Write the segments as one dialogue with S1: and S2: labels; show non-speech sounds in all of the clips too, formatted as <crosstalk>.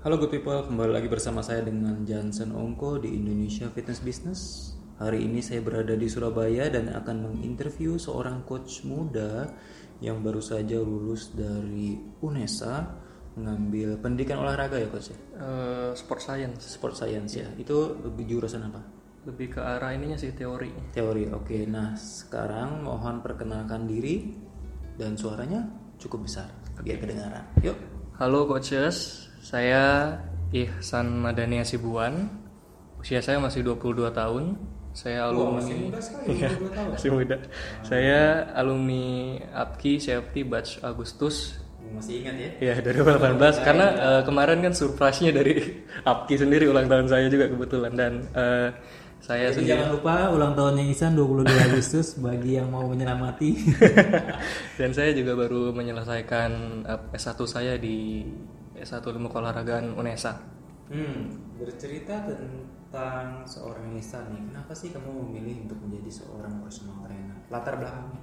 S1: Halo good people, kembali lagi bersama saya dengan Jansen Ongko di Indonesia Fitness Business. Hari ini saya berada di Surabaya dan akan menginterview seorang coach muda yang baru saja lulus dari UNESA mengambil pendidikan olahraga ya coach ya?
S2: eh sport science
S1: Sport Science ya. Itu lebih jurusan apa?
S2: lebih ke arah ininya sih teorinya
S1: Teori. Oke, nah sekarang mohon perkenalkan diri dan suaranya cukup besar biar kedengaran. Yuk.
S2: halo coaches saya Ihsan Madani Asibuan usia saya masih 22 tahun saya alumni Iya, <laughs> masih muda saya alumni APKI Safety Batch Agustus
S1: Masih ingat ya?
S2: ya dari 2018 karena eh, kemarin kan surprise-nya dari <laughs> APKI sendiri ulang tahun saya juga kebetulan dan eh, saya
S1: Jadi jangan lupa ulang tahunnya Ihsan 22
S2: <laughs>
S1: Agustus bagi yang mau menyelamati.
S2: Dan saya juga baru menyelesaikan eh, S1 saya di S1 Ilmu Keolahragaan UNESA.
S1: Hmm, bercerita tentang seorang Ihsan nih. Kenapa sih kamu memilih untuk menjadi seorang personal trainer? Latar belakangnya?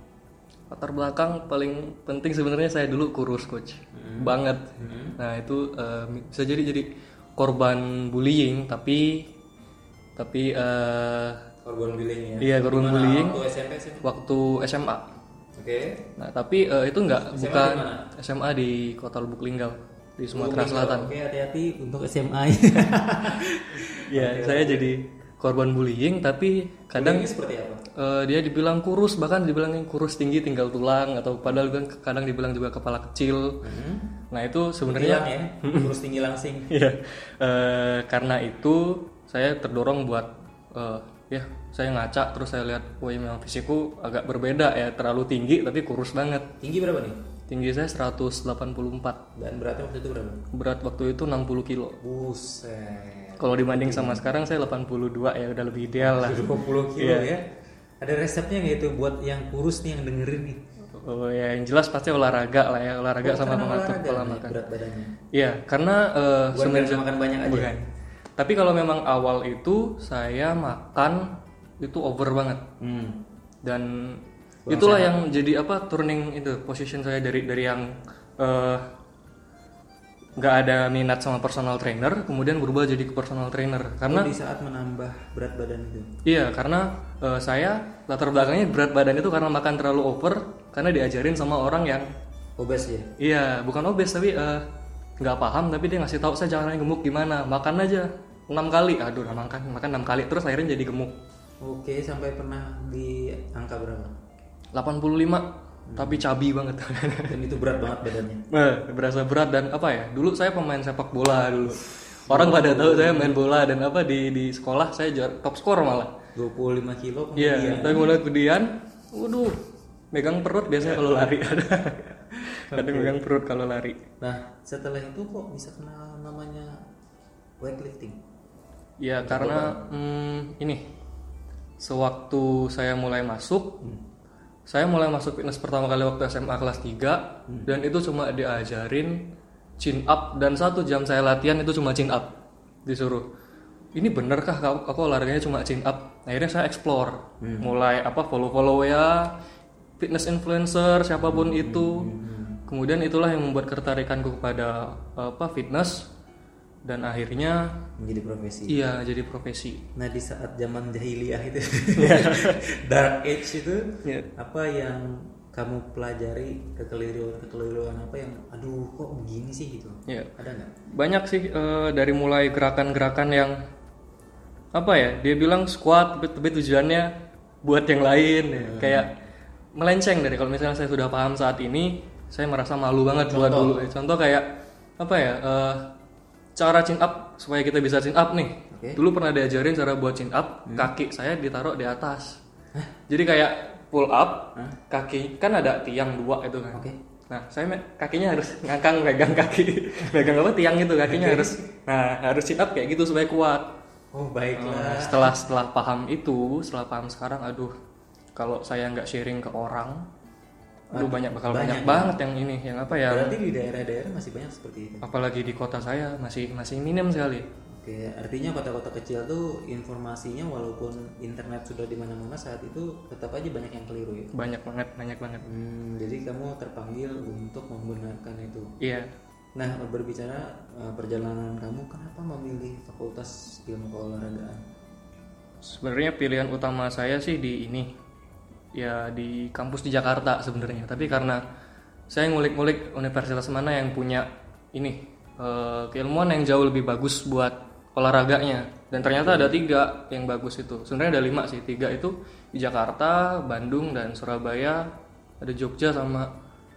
S2: Latar belakang paling penting sebenarnya saya dulu kurus coach, banget. Nah itu eh, bisa jadi jadi korban bullying tapi tapi eh,
S1: Korban bullying ya.
S2: iya korban
S1: Gimana
S2: bullying
S1: Waktu SMP sih.
S2: waktu SMA.
S1: Oke.
S2: Nah tapi eh, itu nggak
S1: SMA
S2: bukan
S1: di mana?
S2: SMA di Kota Lubuk Linggau di Sumatera
S1: Oke,
S2: Selatan.
S1: Oke, hati-hati untuk
S2: <laughs>
S1: SMA.
S2: Iya saya jadi korban bullying tapi kadang
S1: Bullyingnya seperti apa?
S2: Eh, dia dibilang kurus bahkan dibilang yang kurus tinggi tinggal tulang atau padahal kan kadang dibilang juga kepala kecil nah itu sebenarnya
S1: Hilang ya. Terus tinggi langsing.
S2: <laughs> Iya. Eh, karena itu saya terdorong buat eh, ya saya ngaca terus saya lihat wah memang fisikku agak berbeda ya terlalu tinggi tapi kurus banget
S1: Tinggi berapa nih?
S2: tinggi saya 184
S1: Dan beratnya waktu itu berapa?
S2: berat waktu itu 60 kilo
S1: Buset.
S2: kalau dibanding sama sekarang saya 82 ya udah lebih ideal
S1: <laughs>
S2: lah
S1: 20 kilo
S2: Iya.
S1: ya. Ada resepnya nggak itu buat yang kurus nih yang dengerin nih?
S2: oh ya yang jelas pasti olahraga lah ya olahraga sama pengatur pola
S1: nih,
S2: makan
S1: berat badannya.
S2: Iya, karena eh,
S1: Bukan karena makan banyak aja.
S2: bukan. Tapi kalau memang awal itu saya makan itu over banget
S1: Hmm.
S2: dan itulah yang jadi apa turning itu position saya dari dari yang eh, nggak ada minat sama personal trainer, kemudian berubah jadi ke personal trainer karena
S1: Di saat menambah berat badan itu.
S2: Iya, karena eh, saya latar belakangnya berat badan itu karena makan terlalu over, karena diajarin sama orang yang
S1: Obes ya.
S2: Iya, bukan obes tapi eh, nggak paham tapi dia ngasih tahu saya caranya gemuk gimana. Makan aja 6 kali. Aduh, udah makan makan 6 kali terus akhirnya jadi gemuk.
S1: Oke, sampai pernah di angka berapa?
S2: 85 tapi cabi banget. <laughs>
S1: Dan itu berat banget badannya.
S2: Eh, berasa berat dan apa ya? Dulu saya pemain sepak bola dulu. Orang pada tahu saya main bola dan apa di di sekolah saya juara- top skor malah.
S1: 25 kilo kemudian
S2: Iya, tapi mulai kemudian, waduh, megang perut biasanya kalau lari <laughs> ada. Kadang megang perut kalau lari.
S1: Nah, setelah itu kok bisa kenal namanya weightlifting?
S2: Ya karena hmm, ini sewaktu saya mulai masuk, saya mulai masuk fitness pertama kali waktu SMA kelas 3 dan itu cuma diajarin chin up dan satu jam saya latihan itu cuma chin up disuruh. Ini benerkah kau- aku olahraganya cuma chin up? Akhirnya saya explore, mulai apa follow-follow ya fitness influencer siapapun itu. Kemudian itulah yang membuat ketertarikanku kepada apa fitness dan akhirnya
S1: Menjadi profesi.
S2: Iya, jadi profesi.
S1: Nah, di saat zaman jahiliyah itu <laughs> dark age itu
S2: Iya.
S1: apa yang kamu pelajari kekeliruan kekeliruan apa yang aduh kok begini sih gitu
S2: Iya.
S1: ada nggak
S2: Banyak sih eh, dari mulai gerakan-gerakan yang apa ya? Dia bilang squat, tapi, tapi tujuannya buat yang lain ya. kayak melenceng dari kalau misalnya saya sudah paham saat ini, saya merasa malu banget buat dulu. Contoh kayak apa ya? eh, cara chin up supaya kita bisa chin up nih.
S1: Oke.
S2: Dulu pernah diajarin cara buat chin up, kaki saya ditaruh di atas. Jadi kayak pull up, kaki kan ada tiang dua itu kan.
S1: Oke.
S2: Nah, saya me- kakinya harus ngangkang pegang kaki, <laughs> pegang apa tiang itu kakinya harus. Nah, harus sit up kayak gitu supaya kuat.
S1: oh
S2: Nah,
S1: baiklah
S2: setelah setelah paham itu, setelah paham sekarang, aduh, kalau saya nggak sharing ke orang, aduh banyak ya. bakal banyak, banget yang ini, yang apa ya?
S1: Oh, berarti di daerah-daerah masih banyak seperti itu
S2: Apalagi di kota saya masih masih minim sekali.
S1: oke artinya kota-kota kecil tuh informasinya walaupun internet sudah di mana-mana saat itu tetap aja banyak yang keliru ya
S2: Banyak banget, banyak banget.
S1: Hmm, jadi kamu terpanggil untuk membenarkan itu
S2: Iya.
S1: Nah, berbicara eh, perjalanan kamu, kenapa memilih Fakultas Ilmu Keolahragaan?
S2: Sebenarnya pilihan utama saya sih di ini ya di kampus di Jakarta sebenarnya. Tapi karena saya ngulik-ngulik universitas mana yang punya ini eh, keilmuan yang jauh lebih bagus buat olahraganya. Dan ternyata ada tiga yang bagus itu. Sebenarnya ada lima sih. Tiga itu di Jakarta, Bandung, dan Surabaya. Ada Jogja sama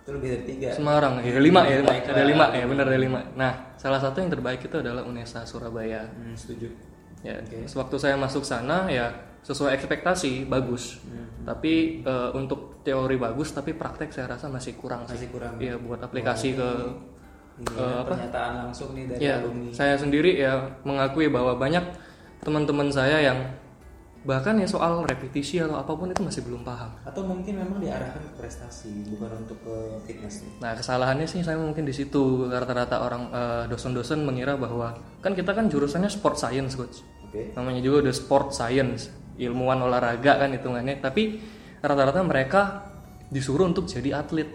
S1: Itu lebih dari tiga.
S2: Semarang ya lima ya lima. ada lima ya benar ada lima. Nah salah satu yang terbaik itu adalah Unesa Surabaya.
S1: Hmm, setuju.
S2: Ya, sewaktu saya masuk sana ya sesuai ekspektasi bagus.
S1: Hmm.
S2: Tapi eh, untuk teori bagus tapi praktek saya rasa masih kurang sih.
S1: Masih kurang.
S2: Iya buat aplikasi ke
S1: Ini ada Iya, pernyataan langsung nih iya. dari
S2: ya
S1: alumni.
S2: saya sendiri ya mengakui bahwa banyak teman-teman saya yang bahkan ya soal repetisi atau apapun itu masih belum paham.
S1: Atau mungkin memang diarahkan ke prestasi, bukan untuk ke fitness nih.
S2: Nah kesalahannya sih saya mungkin di situ rata-rata orang eh, dosen-dosen mengira bahwa kan kita kan jurusannya sport science coach
S1: Oke.
S2: namanya juga udah sport science ilmuwan olahraga kan hitungannya tapi rata-rata mereka disuruh untuk jadi atlet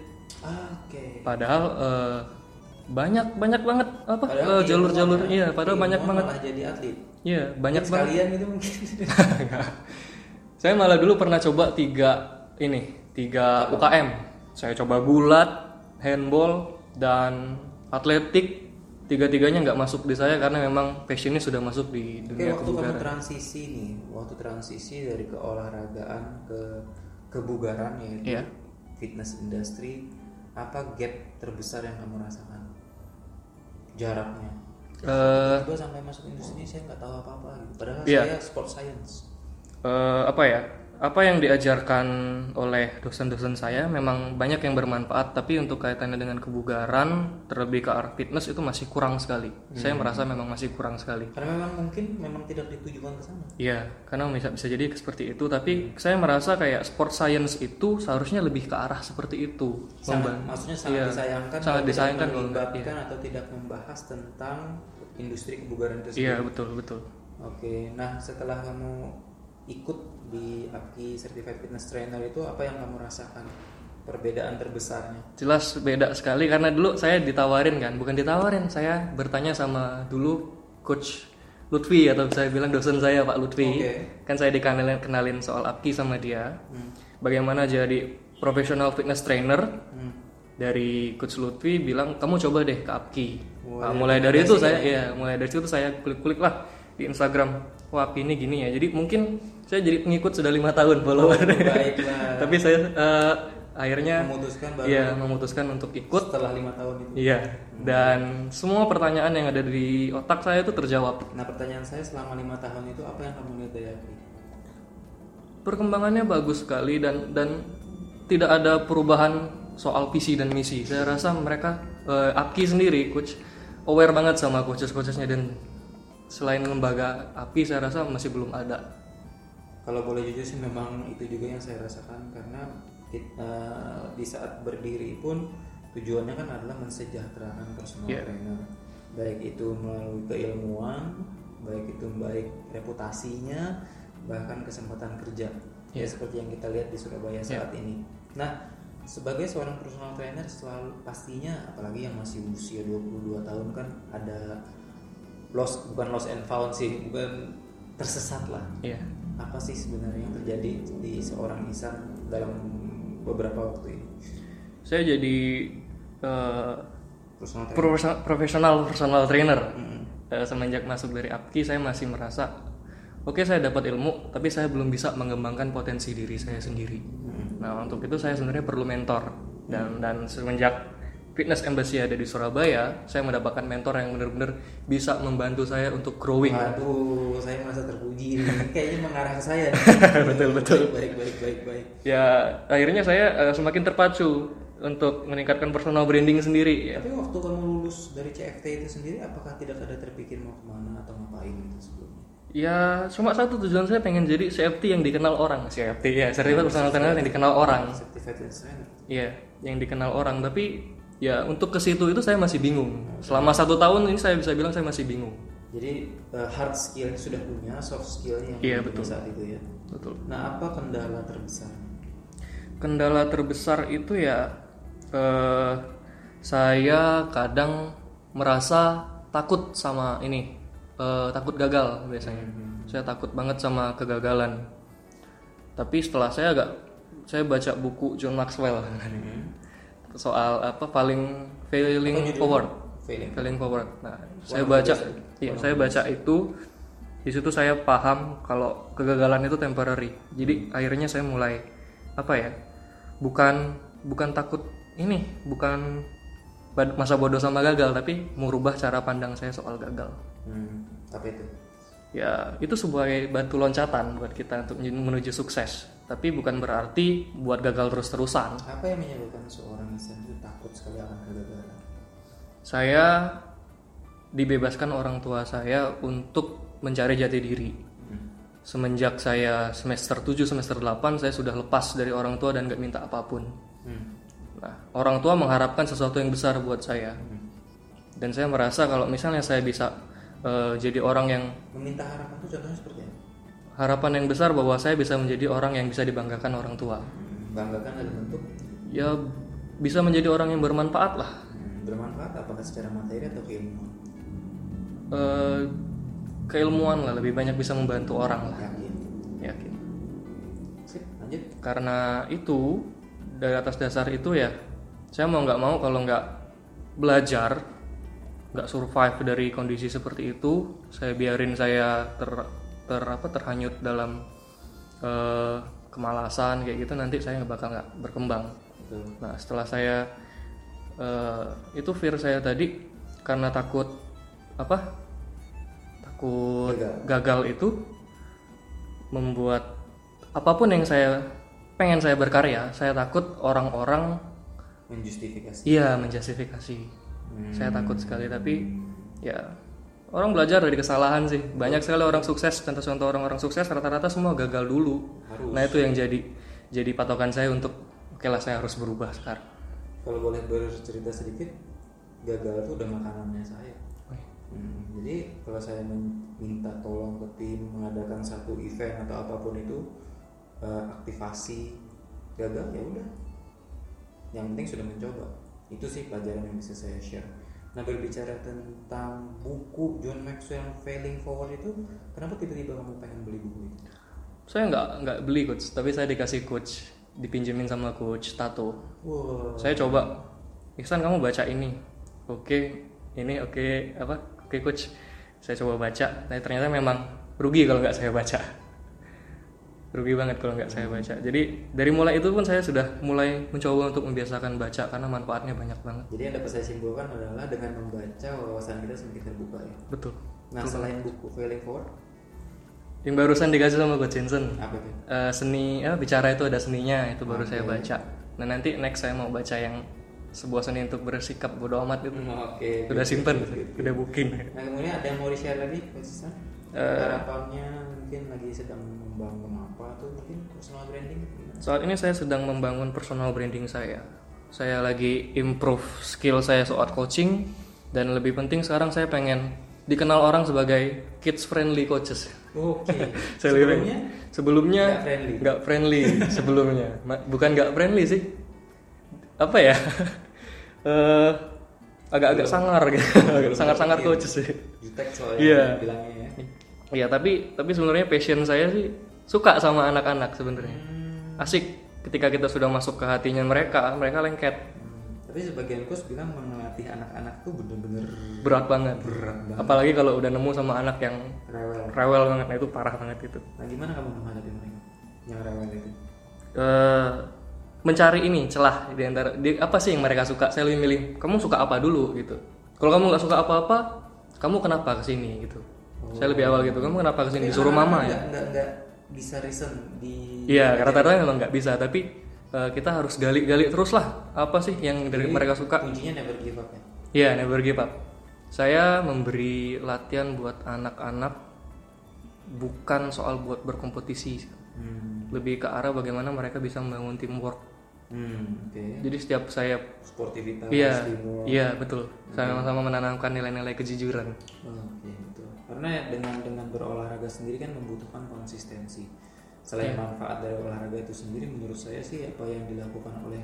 S1: Ah, Oke.
S2: padahal eh, banyak banyak banget apa
S1: Padahal ya.
S2: eh, jalur-jalur iya padahal
S1: Ilmuwan
S2: banyak banget
S1: malah jadi atlet.
S2: iya banyak banget
S1: Sekalian itu
S2: <laughs>
S1: mungkin.
S2: saya malah dulu pernah coba tiga ini tiga UKM saya coba gulat handball dan atletik tiga-tiganya nggak masuk di saya karena memang passionnya sudah masuk di
S1: Oke,
S2: dunia
S1: waktu kamu transisi nih, waktu transisi dari keolahragaan ke kebugaran yaitu
S2: Iya.
S1: fitness industry, apa gap terbesar yang kamu rasakan? Jaraknya.
S2: Eh,
S1: Tiba sampai masuk industri ini saya nggak tahu apa-apa gitu. Padahal
S2: Iya.
S1: saya sport science.
S2: eh, apa ya apa yang diajarkan oleh dosen-dosen saya memang banyak yang bermanfaat tapi untuk kaitannya dengan kebugaran terlebih ke arah fitness itu masih kurang sekali saya merasa memang masih kurang sekali
S1: Karena memang mungkin memang tidak ditujukan ke sana.
S2: Iya, karena bisa bisa jadi seperti itu. Tapi saya merasa kayak sport science itu seharusnya lebih ke arah seperti itu.
S1: Sangat,
S2: Memba-
S1: maksudnya sangat
S2: iya,
S1: disayangkan
S2: sangat
S1: kalau
S2: disayangkan
S1: tidak
S2: kalau iya. enggak,
S1: melibatkan atau tidak membahas tentang industri kebugaran itu
S2: Iya betul betul.
S1: Oke, nah setelah kamu ikut di APKI Certified Fitness Trainer itu apa yang kamu rasakan perbedaan terbesarnya?
S2: Jelas beda sekali karena dulu saya ditawarin kan, bukan ditawarin, saya bertanya sama dulu coach Lutfi atau saya bilang dosen saya Pak Lutfi.
S1: Oke.
S2: Kan saya dikenalin kenalin soal APKI sama dia.
S1: Hmm.
S2: Bagaimana jadi professional fitness trainer <laughs>
S1: Hmm.
S2: dari coach Lutfi bilang kamu coba deh ke Apki.
S1: Wah,
S2: Nah, mulai dari itu saya ya mulai dari situ saya kulik-kulik lah di Instagram. Wah, Apki ini gini ya. Jadi mungkin saya jadi pengikut sudah lima tahun follower.
S1: Baiklah,
S2: <laughs> Tapi saya eh,
S1: Oh,
S2: akhirnya
S1: iya. memutuskan baru
S2: ya memutuskan untuk ikut.
S1: setelah lima tahun itu.
S2: Iya. Dan semua pertanyaan yang ada di otak saya itu terjawab.
S1: Nah pertanyaan saya selama lima tahun itu apa yang kamu lihat dari APKI?
S2: perkembangannya bagus sekali dan dan tidak ada perubahan soal visi dan misi. Saya rasa mereka eh, APKI sendiri coach aware banget sama coaches-coachesnya dan selain lembaga APKI saya rasa masih belum ada.
S1: Kalau boleh jujur sih memang itu juga yang saya rasakan karena kita di saat berdiri pun tujuannya kan adalah mensejahterakan personal
S2: Iya.
S1: trainer baik itu melalui keilmuan baik itu baik reputasinya bahkan kesempatan kerja ya seperti yang kita lihat di Surabaya saat ini nah sebagai seorang personal trainer selalu pastinya apalagi yang masih usia 22 tahun kan ada lost bukan lost and found sih bukan tersesat lah
S2: Iya.
S1: apa sih sebenarnya yang terjadi di seorang insan dalam beberapa waktu ini
S2: Saya jadi eh,
S1: personal trainer
S2: profes- profesional personal trainer. Eh, semenjak masuk dari APKI saya masih merasa oke saya dapat ilmu tapi saya belum bisa mengembangkan potensi diri saya sendiri.
S1: Mm-mm.
S2: Nah untuk itu saya sebenarnya perlu mentor dan dan semenjak Fitness Embassy ada di Surabaya, saya mendapatkan mentor yang benar-benar bisa membantu saya untuk growing.
S1: Aduh, saya merasa terpuji nih.
S2: <laughs>
S1: Kayaknya mengarah ke saya.
S2: Betul,
S1: betul. Baik, baik, baik, baik.
S2: Ya akhirnya saya eh, semakin terpacu untuk meningkatkan personal branding sendiri. Ya.
S1: Tapi waktu kamu lulus dari CFT itu sendiri, apakah tidak ada terpikir mau kemana atau ngapain gitu sebelumnya?
S2: ya cuma satu tujuan saya pengen jadi CFT yang dikenal orang. CFT ya, certifikat personal trainer yang dikenal orang.
S1: Certified fitness trainer.
S2: Iya, yang dikenal orang. Tapi ya untuk ke situ itu saya masih bingung. Selama satu tahun ini saya bisa bilang saya masih bingung.
S1: Jadi eh, hard skill sudah punya, soft skill yang
S2: Iya,
S1: punya saat itu ya.
S2: Betul.
S1: Nah, apa kendala terbesar?
S2: kendala terbesar itu ya eh, saya kadang merasa takut sama ini eh, takut gagal biasanya saya takut banget sama kegagalan tapi setelah saya agak saya baca buku John Maxwell soal apa paling failing forward
S1: Failing.
S2: failing forward nah saya baca iya saya baca itu di situ saya paham kalau kegagalan itu temporary jadi akhirnya saya mulai apa ya bukan bukan takut ini bukan bad- masa bodoh sama gagal tapi merubah cara pandang saya soal gagal
S1: Hmm, apa itu?
S2: ya itu sebagai batu loncatan buat kita untuk menuju sukses tapi bukan berarti buat gagal terus-terusan
S1: Apa yang menyebabkan seorang Islam itu takut sekali akan kegagalan?
S2: saya dibebaskan orang tua saya untuk mencari jati diri.
S1: Hmm.
S2: Semenjak saya semester 7, semester 8, saya sudah lepas dari orang tua dan gak minta apapun.
S1: Hmm.
S2: Nah, orang tua mengharapkan sesuatu yang besar buat saya. Dan saya merasa kalau misalnya saya bisa eh, jadi orang yang
S1: Meminta harapan itu contohnya seperti apa?
S2: harapan yang besar bahwa saya bisa menjadi orang yang bisa dibanggakan orang tua.
S1: Hmm, Banggakan dalam bentuk
S2: Ya bisa menjadi orang yang bermanfaat lah.
S1: hmm, bermanfaat apakah secara materi atau keilmuan?
S2: Eh, keilmuan lah lebih banyak bisa membantu orang lah.
S1: Yakin.
S2: Yakin.
S1: Sip, lanjut.
S2: karena itu dari atas dasar itu ya saya mau nggak mau kalau nggak belajar nggak survive dari kondisi seperti itu saya biarin saya ter ter apa terhanyut dalam eh, kemalasan kayak gitu nanti saya nggak bakal nggak berkembang
S1: Betul.
S2: Nah setelah saya eh, itu fear saya tadi karena takut apa? Takut
S1: Gagal.
S2: gagal. itu membuat apapun yang saya pengen saya berkarya, saya takut orang-orang
S1: Menjustifikasi.
S2: iya menjustifikasi. Saya takut sekali tapi ya orang belajar dari kesalahan sih. Banyak sekali orang sukses, contoh-contoh orang-orang sukses rata-rata semua gagal dulu.
S1: Harus.
S2: Nah itu yang jadi jadi patokan saya untuk oke lah saya harus berubah sekarang.
S1: Kalau boleh bercerita sedikit, gagal itu udah makanannya saya. Hmm, jadi kalau saya minta tolong ke tim mengadakan satu event atau apapun itu eh, aktivasi gagal ya udah. Yang penting sudah mencoba. Itu sih pelajaran yang bisa saya share. Nah berbicara tentang buku John Maxwell Failing Forward itu, kenapa tiba-tiba kamu pengen beli buku itu?
S2: Saya nggak nggak beli coach, tapi saya dikasih coach, dipinjemin sama coach Tato.
S1: Wow.
S2: Saya coba, Iksan kamu baca ini, oke, ini oke apa, oke coach. Saya coba baca, tapi ternyata memang rugi kalau nggak saya baca. <laughs> Rugi banget kalau nggak saya baca. Jadi dari mulai itu pun saya sudah mulai mencoba untuk membiasakan baca karena manfaatnya banyak banget.
S1: Jadi yang dapat saya simpulkan adalah dengan membaca wawasan kita semakin terbuka ya.
S2: Betul.
S1: Nah selain buku Failing Forward,
S2: Yang barusan dikasih sama coach Jensen.
S1: apa itu?
S2: Eh, seni eh, bicara itu ada seninya itu baru saya baca. Nah nanti next saya mau baca yang sebuah seni untuk bersikap bodo amat itu
S1: Oke.
S2: udah simpen, udah booking.
S1: Nah kemudian ada yang mau di share lagi Coach Isan?
S2: Eh.
S1: Harapannya mungkin lagi sedang membangun apa tuh mungkin personal branding gimana?
S2: Saat ini saya sedang membangun personal branding saya. Saya lagi improve skill saya soal coaching dan lebih penting sekarang saya pengen dikenal orang sebagai kids friendly coaches.
S1: Oke.
S2: <laughs> Saya lebih-
S1: Sebelumnya
S2: sebelumnya
S1: Nggak friendly.
S2: nggak
S1: <laughs>
S2: friendly, sebelumnya Ma- bukan nggak friendly sih apa ya <laughs> Eh, agak-agak sangar gitu <laughs> Agak sangar-sangar
S1: Iya.
S2: coaches sih
S1: jutek soalnya
S2: Iya.
S1: bilangnya ya.
S2: Iya tapi tapi sebenarnya passion saya sih suka sama anak-anak sebenarnya
S1: Hmm,
S2: asik ketika kita sudah masuk ke hatinya mereka mereka lengket
S1: Hmm, Tapi sebagian coach bilang melatih anak-anak tuh bener-bener
S2: berat banget
S1: berat banget.
S2: apalagi kalau udah nemu sama anak yang
S1: Rewel.
S2: rewel banget nah itu parah banget itu
S1: Nah gimana kamu menghadapi mereka yang rewel itu?
S2: eh, mencari ini celah di antara di- apa sih yang mereka suka saya lebih milih kamu suka apa dulu gitu kalau kamu nggak suka apa-apa kamu kenapa kesini gitu saya lebih awal gitu kamu kenapa kesini disuruh mama ya
S1: Nggak nggak nggak bisa reason di
S2: iya rata-rata memang nggak bisa tapi eh, kita harus gali-gali terus lah apa sih yang dari mereka suka
S1: kuncinya never give up ya.
S2: Iya, never give up. Saya memberi latihan buat anak-anak bukan soal buat berkompetisi,
S1: Hmm.
S2: lebih ke arah bagaimana mereka bisa membangun teamwork.
S1: Hmm, oke.
S2: Jadi setiap saya
S1: Sportivitas,
S2: Iya,
S1: teamwork.
S2: iya betul. Sama-sama menanamkan nilai-nilai kejujuran.
S1: Oke, betul. Oh, iya, Karena ya dengan dengan berolahraga sendiri kan membutuhkan konsistensi. Selain
S2: Iya.
S1: manfaat dari olahraga itu sendiri, menurut saya sih apa yang dilakukan oleh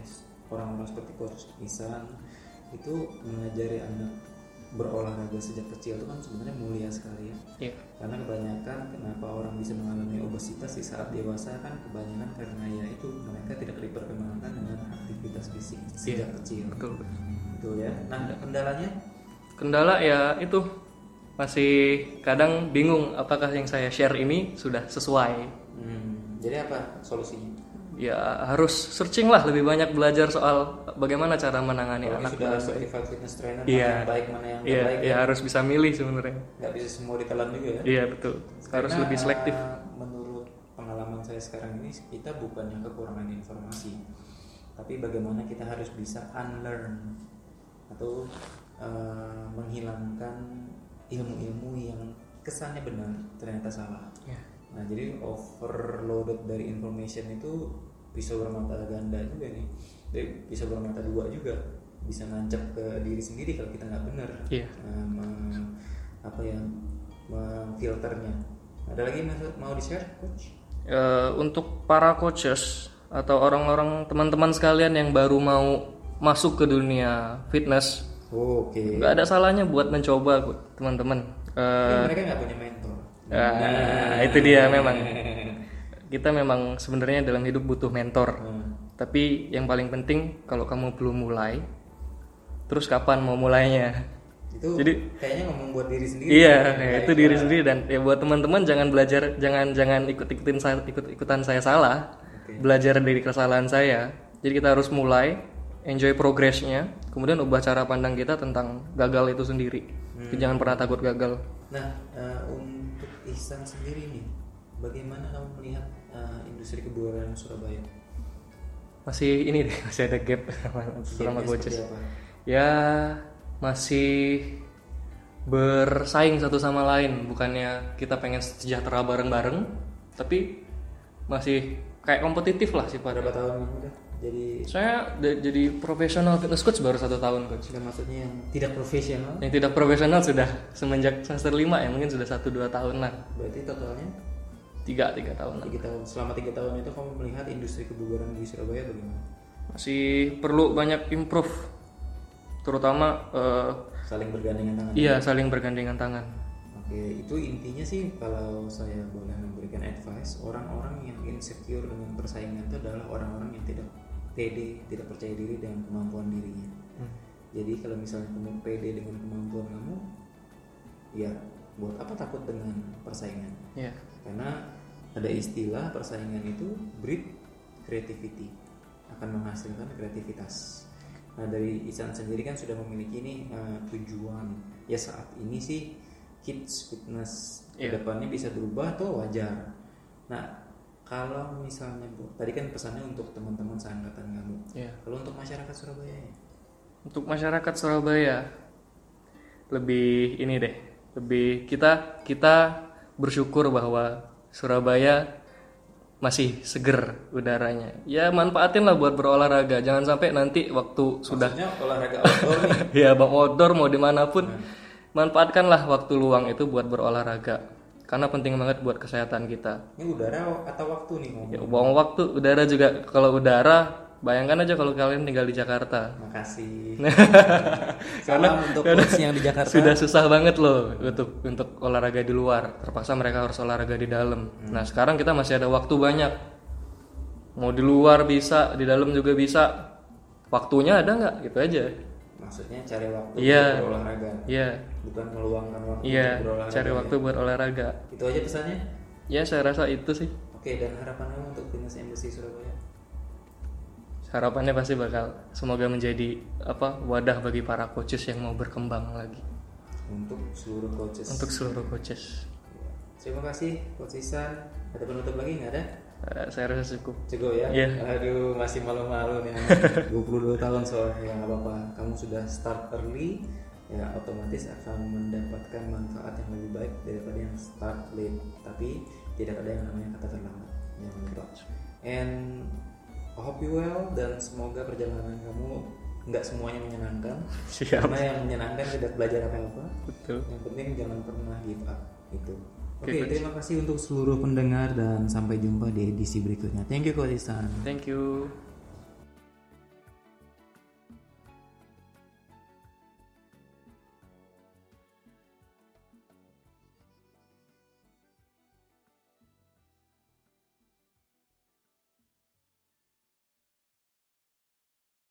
S1: orang-orang seperti Coach Isan itu mengajari anak berolahraga sejak kecil itu kan sebenarnya mulia sekali ya
S2: Iya.
S1: karena kebanyakan kenapa orang bisa mengalami obesitas di saat dewasa kan kebanyakan karena ya itu mereka tidak diperkenalkan dengan aktivitas fisik sejak kecil
S2: Iya, Betul. betul.
S1: betul ya nah kendalanya
S2: Kendala ya itu masih kadang bingung apakah yang saya share ini sudah sesuai.
S1: hmm, jadi apa solusinya
S2: Ya harus searching lah lebih banyak belajar soal bagaimana cara menangani
S1: Apalagi
S2: anak.
S1: sudah certified fitness trainer mana
S2: Iya.
S1: yang baik mana yang nggak
S2: Iya,
S1: baik
S2: ya harus bisa milih sebenarnya.
S1: nggak bisa semua ditelan juga ya
S2: Iya betul. Harus
S1: Karena,
S2: lebih selektif.
S1: eh, menurut pengalaman saya sekarang ini kita bukannya kekurangan informasi, tapi bagaimana kita harus bisa unlearn atau eh, menghilangkan ilmu-ilmu yang kesannya benar ternyata salah.
S2: Ya.
S1: Nah jadi overloaded dari information itu bisa bermata ganda juga nih, jadi bisa bermata dua juga, bisa ngancap ke diri sendiri kalau kita nggak benar
S2: Iya.
S1: eh, me- apa ya memfilternya ada lagi mas mau di share coach
S2: Eh, untuk para coaches atau orang-orang teman-teman sekalian yang baru mau masuk ke dunia fitness,
S1: oh, oke
S2: nggak ada salahnya buat mencoba Bud, teman-teman. Eh,
S1: Tapi mereka nggak punya mentor Nah,
S2: ah, itu dia memang. Kita memang sebenarnya dalam hidup butuh mentor.
S1: Hmm.
S2: Tapi yang paling penting kalau kamu belum mulai, terus kapan mau mulainya?
S1: itu kayaknya ngomong buat diri sendiri
S2: Iya, ya, itu diri sendiri dan ya buat teman-teman jangan belajar, jangan jangan ikut-ikutin saya ikut-ikutan saya salah. Belajar dari kesalahan saya. Jadi kita harus mulai enjoy progresnya, kemudian ubah cara pandang kita tentang gagal itu sendiri. Jadi Jangan pernah takut gagal.
S1: nah eh, untuk Ihsan sendiri nih bagaimana kamu melihat eh, industri kebugaran Surabaya
S2: Masih ini deh, <laughs> masih ada gap selama
S1: Gapnya
S2: coaches.
S1: Iya, seperti apa?
S2: Ya masih bersaing satu sama lain, bukannya kita pengen sejahtera bareng-bareng, tapi masih kayak kompetitif lah sih pada
S1: berapa tahun kamu udah jadi
S2: Saya de- jadi profesional fitness coach baru satu tahun coach.
S1: sudah maksudnya yang tidak profesional
S2: Yang tidak profesional sudah semenjak semester 5 ya mungkin sudah satu dua tahun lah.
S1: berarti totalnya
S2: Tiga tiga tahun lah.
S1: tiga tahun selama tiga tahun itu kamu melihat industri kebugaran di Surabaya bagaimana
S2: Masih perlu banyak improve. Terutama eh,
S1: saling bergandengan tangan.
S2: iya saling bergandengan tangan.
S1: Oke, itu intinya sih kalau saya boleh memberikan advice, orang-orang yang insecure dengan persaingan itu adalah orang-orang yang tidak pede, tidak percaya diri dengan kemampuan dirinya. Jadi kalau misalnya kamu pede dengan kemampuan kamu, ya buat apa takut dengan persaingan?
S2: Iya.
S1: Karena ada istilah persaingan itu breed creativity akan menghasilkan kreativitas. Nah dari Isan sendiri kan sudah memiliki nih eh, tujuan ya saat ini sih kids fitness
S2: Iya.
S1: kedepannya bisa berubah tuh wajar. Nah kalau misalnya bu, tadi kan pesannya untuk teman-teman seangkatan kamu.
S2: Iya.
S1: Kalau untuk masyarakat Surabaya ya?
S2: Untuk masyarakat Surabaya lebih ini deh, lebih kita kita bersyukur bahwa Surabaya masih seger udaranya. Ya manfaatin lah buat berolahraga. Jangan sampai nanti waktu sudah
S1: Maksudnya olahraga outdoor nih.
S2: <laughs> ya bang outdoor mau dimanapun manfaatkanlah waktu luang itu buat berolahraga karena penting banget buat kesehatan kita.
S1: Ini udara atau waktu nih ngomong.
S2: Ya, buang waktu udara juga kalau udara bayangkan aja kalau kalian tinggal di Jakarta <laughs>
S1: Makasih. Salam untuk coach yang di Jakarta.
S2: sudah susah banget loh untuk untuk olahraga di luar terpaksa mereka harus olahraga di dalam
S1: Hmm.
S2: nah sekarang kita masih ada waktu banyak mau di luar bisa di dalam juga bisa waktunya ada nggak gitu aja
S1: Maksudnya cari waktu
S2: Iya.
S1: untuk berolahraga.
S2: iya
S1: bukan meluangkan waktu
S2: iya
S1: untuk berolahraga ya.
S2: cari waktu buat olahraga
S1: itu aja pesannya
S2: ya saya rasa itu sih
S1: oke dan harapan kamu untuk fitness embassy Surabaya
S2: harapannya pasti bakal semoga menjadi apa wadah bagi para coaches yang mau berkembang lagi
S1: untuk seluruh coaches
S2: untuk seluruh coaches
S1: Ya. terima kasih coach Isan ada penutup lagi nggak ada
S2: Eh, saya rasa cukup
S1: Cukup ya?
S2: Iya.
S1: Aduh, masih malu-malu nih. 22 tahun soalnya ya nggak apa-apa. Kamu sudah start early, ya otomatis akan mendapatkan manfaat yang lebih baik daripada yang start late. Tapi tidak ada yang namanya kata terlambat. Jangan lupa. And I hope you well dan semoga perjalanan kamu nggak semuanya menyenangkan.
S2: Siap.
S1: Karena yang menyenangkan tidak belajar apa-apa
S2: betul
S1: yang penting jangan pernah give up itu oke
S2: Oke,
S1: terima kasih untuk seluruh pendengar dan sampai jumpa di edisi berikutnya thank you Coach Isan
S2: thank you